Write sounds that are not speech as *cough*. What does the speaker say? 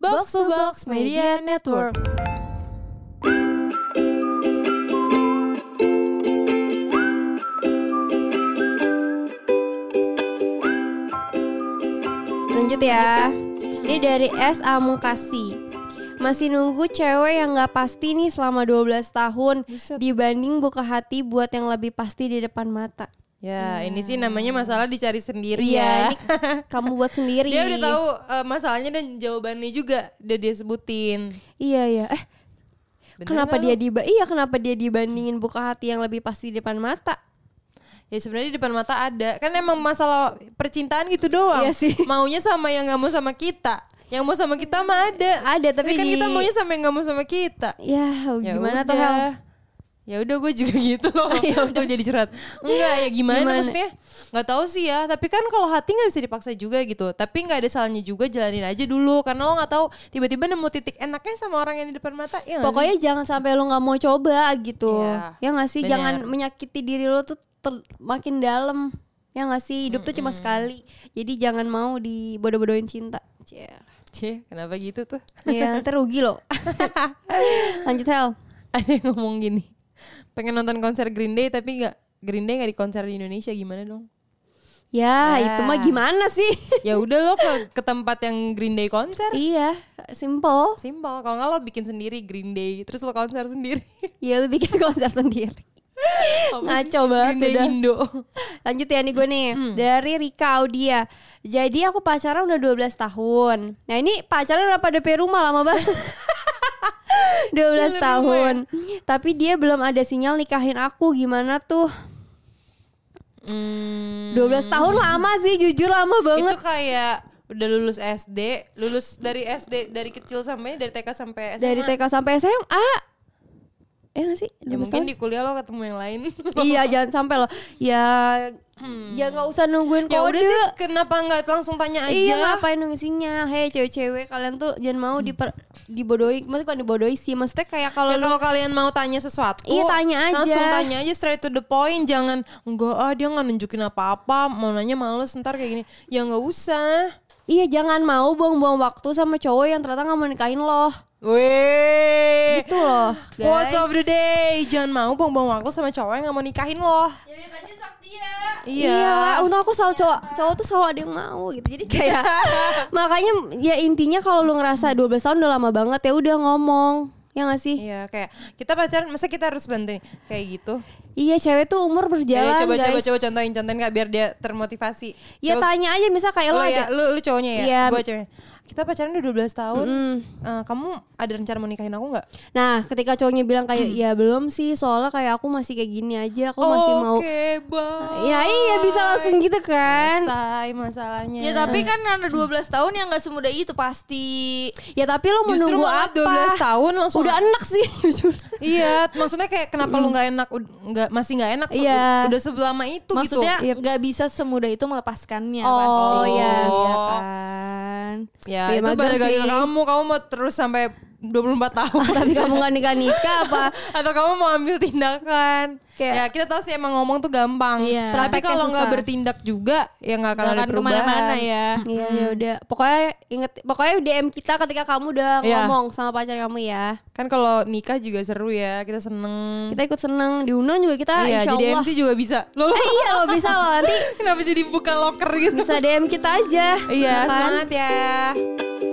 Box to Box Media Network. Lanjut ya. Ini Hmm. dari S Amukasi. Masih nunggu cewek yang gak pasti nih selama 12 tahun Buset. Dibanding buka hati buat yang lebih pasti di depan mata Ya, ini sih namanya masalah dicari sendiri Hmm. Iya, ya. ini *laughs* kamu buat sendiri Dia udah tahu eh, masalahnya dan jawabannya juga udah dia sebutin. Iya, iya Eh, Bener kenapa nggak dia lu? diba Iya, kenapa dia dibandingin buka hati yang lebih pasti di depan mata Ya sebenarnya di depan mata ada. Kan emang masalah percintaan gitu doang. Iya sih. Maunya sama yang nggak mau sama kita. Yang mau sama kita mah ada. Ada, tapi kan di- kita maunya sama yang nggak mau sama kita. Ya, Ya gimana tuh udah. Hel? Ya udah gue juga gitu *laughs* loh. ya udah jadi curhat. Enggak ya gimana, Gimana? maksudnya? Nggak tahu sih ya. Tapi kan kalau hati nggak bisa dipaksa juga gitu. Tapi nggak ada salahnya juga jalanin aja dulu karena lo nggak tahu tiba-tiba nemu titik enaknya sama orang yang di depan mata. Ya nggak Pokoknya jangan sampai lo nggak mau coba gitu. Iya, ya nggak sih, bener. jangan menyakiti diri lo tuh ter- makin dalam. Ya nggak sih, hidup tuh cuma sekali. Jadi jangan mau dibodoh-bodohin cinta. Cie. sih? Cie, kenapa gitu tuh? *laughs* Ya ntar rugi lo. Lanjut Hel. ada yang ngomong gini. Pengen nonton konser Green Day tapi nggak Green Day nggak di konser di Indonesia gimana *laughs* dong? Ya, itu mah gimana sih? *laughs* Ya udah lo ke ke tempat yang Green Day konser. iya, simple. Simpel. Kalau nggak lo bikin sendiri Green Day terus lo konser sendiri. *laughs* Ya lu bikin konser sendiri. Ngaco banget Green Day udah. Indo. Lanjut ya nih gue nih Hmm. Dari Rika Audia Jadi aku pacaran udah 12 tahun Nah ini pacaran apa DP rumah lama banget *laughs* 12 Cilin tahun Tapi dia belum ada sinyal nikahin aku Gimana tuh 12 tahun lama sih jujur lama banget Hmm, Itu kayak udah lulus SD, lulus dari SD dari kecil sampai dari TK sampai kan SMA. Dari TK sampai SMA Eh gak sih? ya 12 mungkin tahun? di kuliah lo ketemu yang *laughs* lain. Iya jangan sampai loh Ya Ya gak usah nungguin Hmm. ya kode udah sih kenapa nggak langsung tanya aja? Iya ngapain nunggu sinyal Hei cewek-cewek kalian tuh jangan mau diper, dibodohi Maksudnya bukan dibodohi sih Maksudnya kayak kalau Ya lu- kalau kalian mau tanya sesuatu, Iya, tanya aja. Langsung tanya aja straight to the point, jangan enggak ah dia nggak nunjukin apa-apa, mau nanya males ntar kayak gini. Ya nggak usah. Iya jangan mau buang-buang waktu sama cowok yang ternyata gak mau nikahin lo Weh. Itu loh Quotes guys of the day, jangan mau buang-buang waktu sama cowok yang nggak mau nikahin lo. Iya lah, untung aku selalu cowok Cowok tuh selalu ada yang mau gitu Jadi *laughs* kayak Makanya ya intinya kalau lu ngerasa 12 tahun udah lama banget ya udah ngomong Ya gak sih? Iya kayak kita pacaran masa kita harus bantuin kayak gitu. Iya cewek tuh umur berjalan Ayo, coba guys coba coba contohin contohin kak biar dia termotivasi. Ya Coba- tanya aja misal kayak lo, lo ada ya, lu lu cowoknya ya, Iya. gua ceweknya. Kita pacaran udah 12 tahun. Mm. Eh, kamu ada rencana mau nikahin aku nggak? Nah, ketika cowoknya bilang kayak ya belum sih, soalnya kayak aku masih kayak gini aja, aku Oh, masih mau. Oke, bye. Ya iya bisa langsung gitu kan. Selesai masalahnya. Ya tapi kan anak 12 tahun yang nggak semudah itu pasti. Ya tapi lo justru menunggu malah apa? 12 tahun langsung Udah enak sih *laughs* jujur. Iya, maksudnya kayak kenapa lu nggak enak ud- nggak masih nggak enak se- Iya. udah selama itu Maksudnya gitu. Yep. nggak bisa semudah itu melepaskannya Oh, pasti. iya. Iya kan. Ya, Iya, itu mager balik lagi ke sih. kamu, kamu mau terus sampai 24 *laughs* tahun. tapi kamu gak nikah nikah apa? *laughs* atau kamu mau ambil tindakan Kayak- ya kita tahu sih emang ngomong tuh gampang Iya. tapi Prakteknya kalau nggak susah. bertindak juga ya nggak akan ada Jangan perubahan kemana-mana ya. Iya ya Hmm. udah. Pokoknya inget, pokoknya DM kita ketika kamu udah Iya. ngomong sama pacar kamu ya. kan kalau nikah juga seru ya kita seneng Kita ikut seneng diundang juga kita iya insya jadi Allah. MC juga bisa loh *laughs* *laughs* Eh, iya lo bisa lo nanti kenapa jadi buka loker gitu bisa DM kita aja. iya kan? semangat ya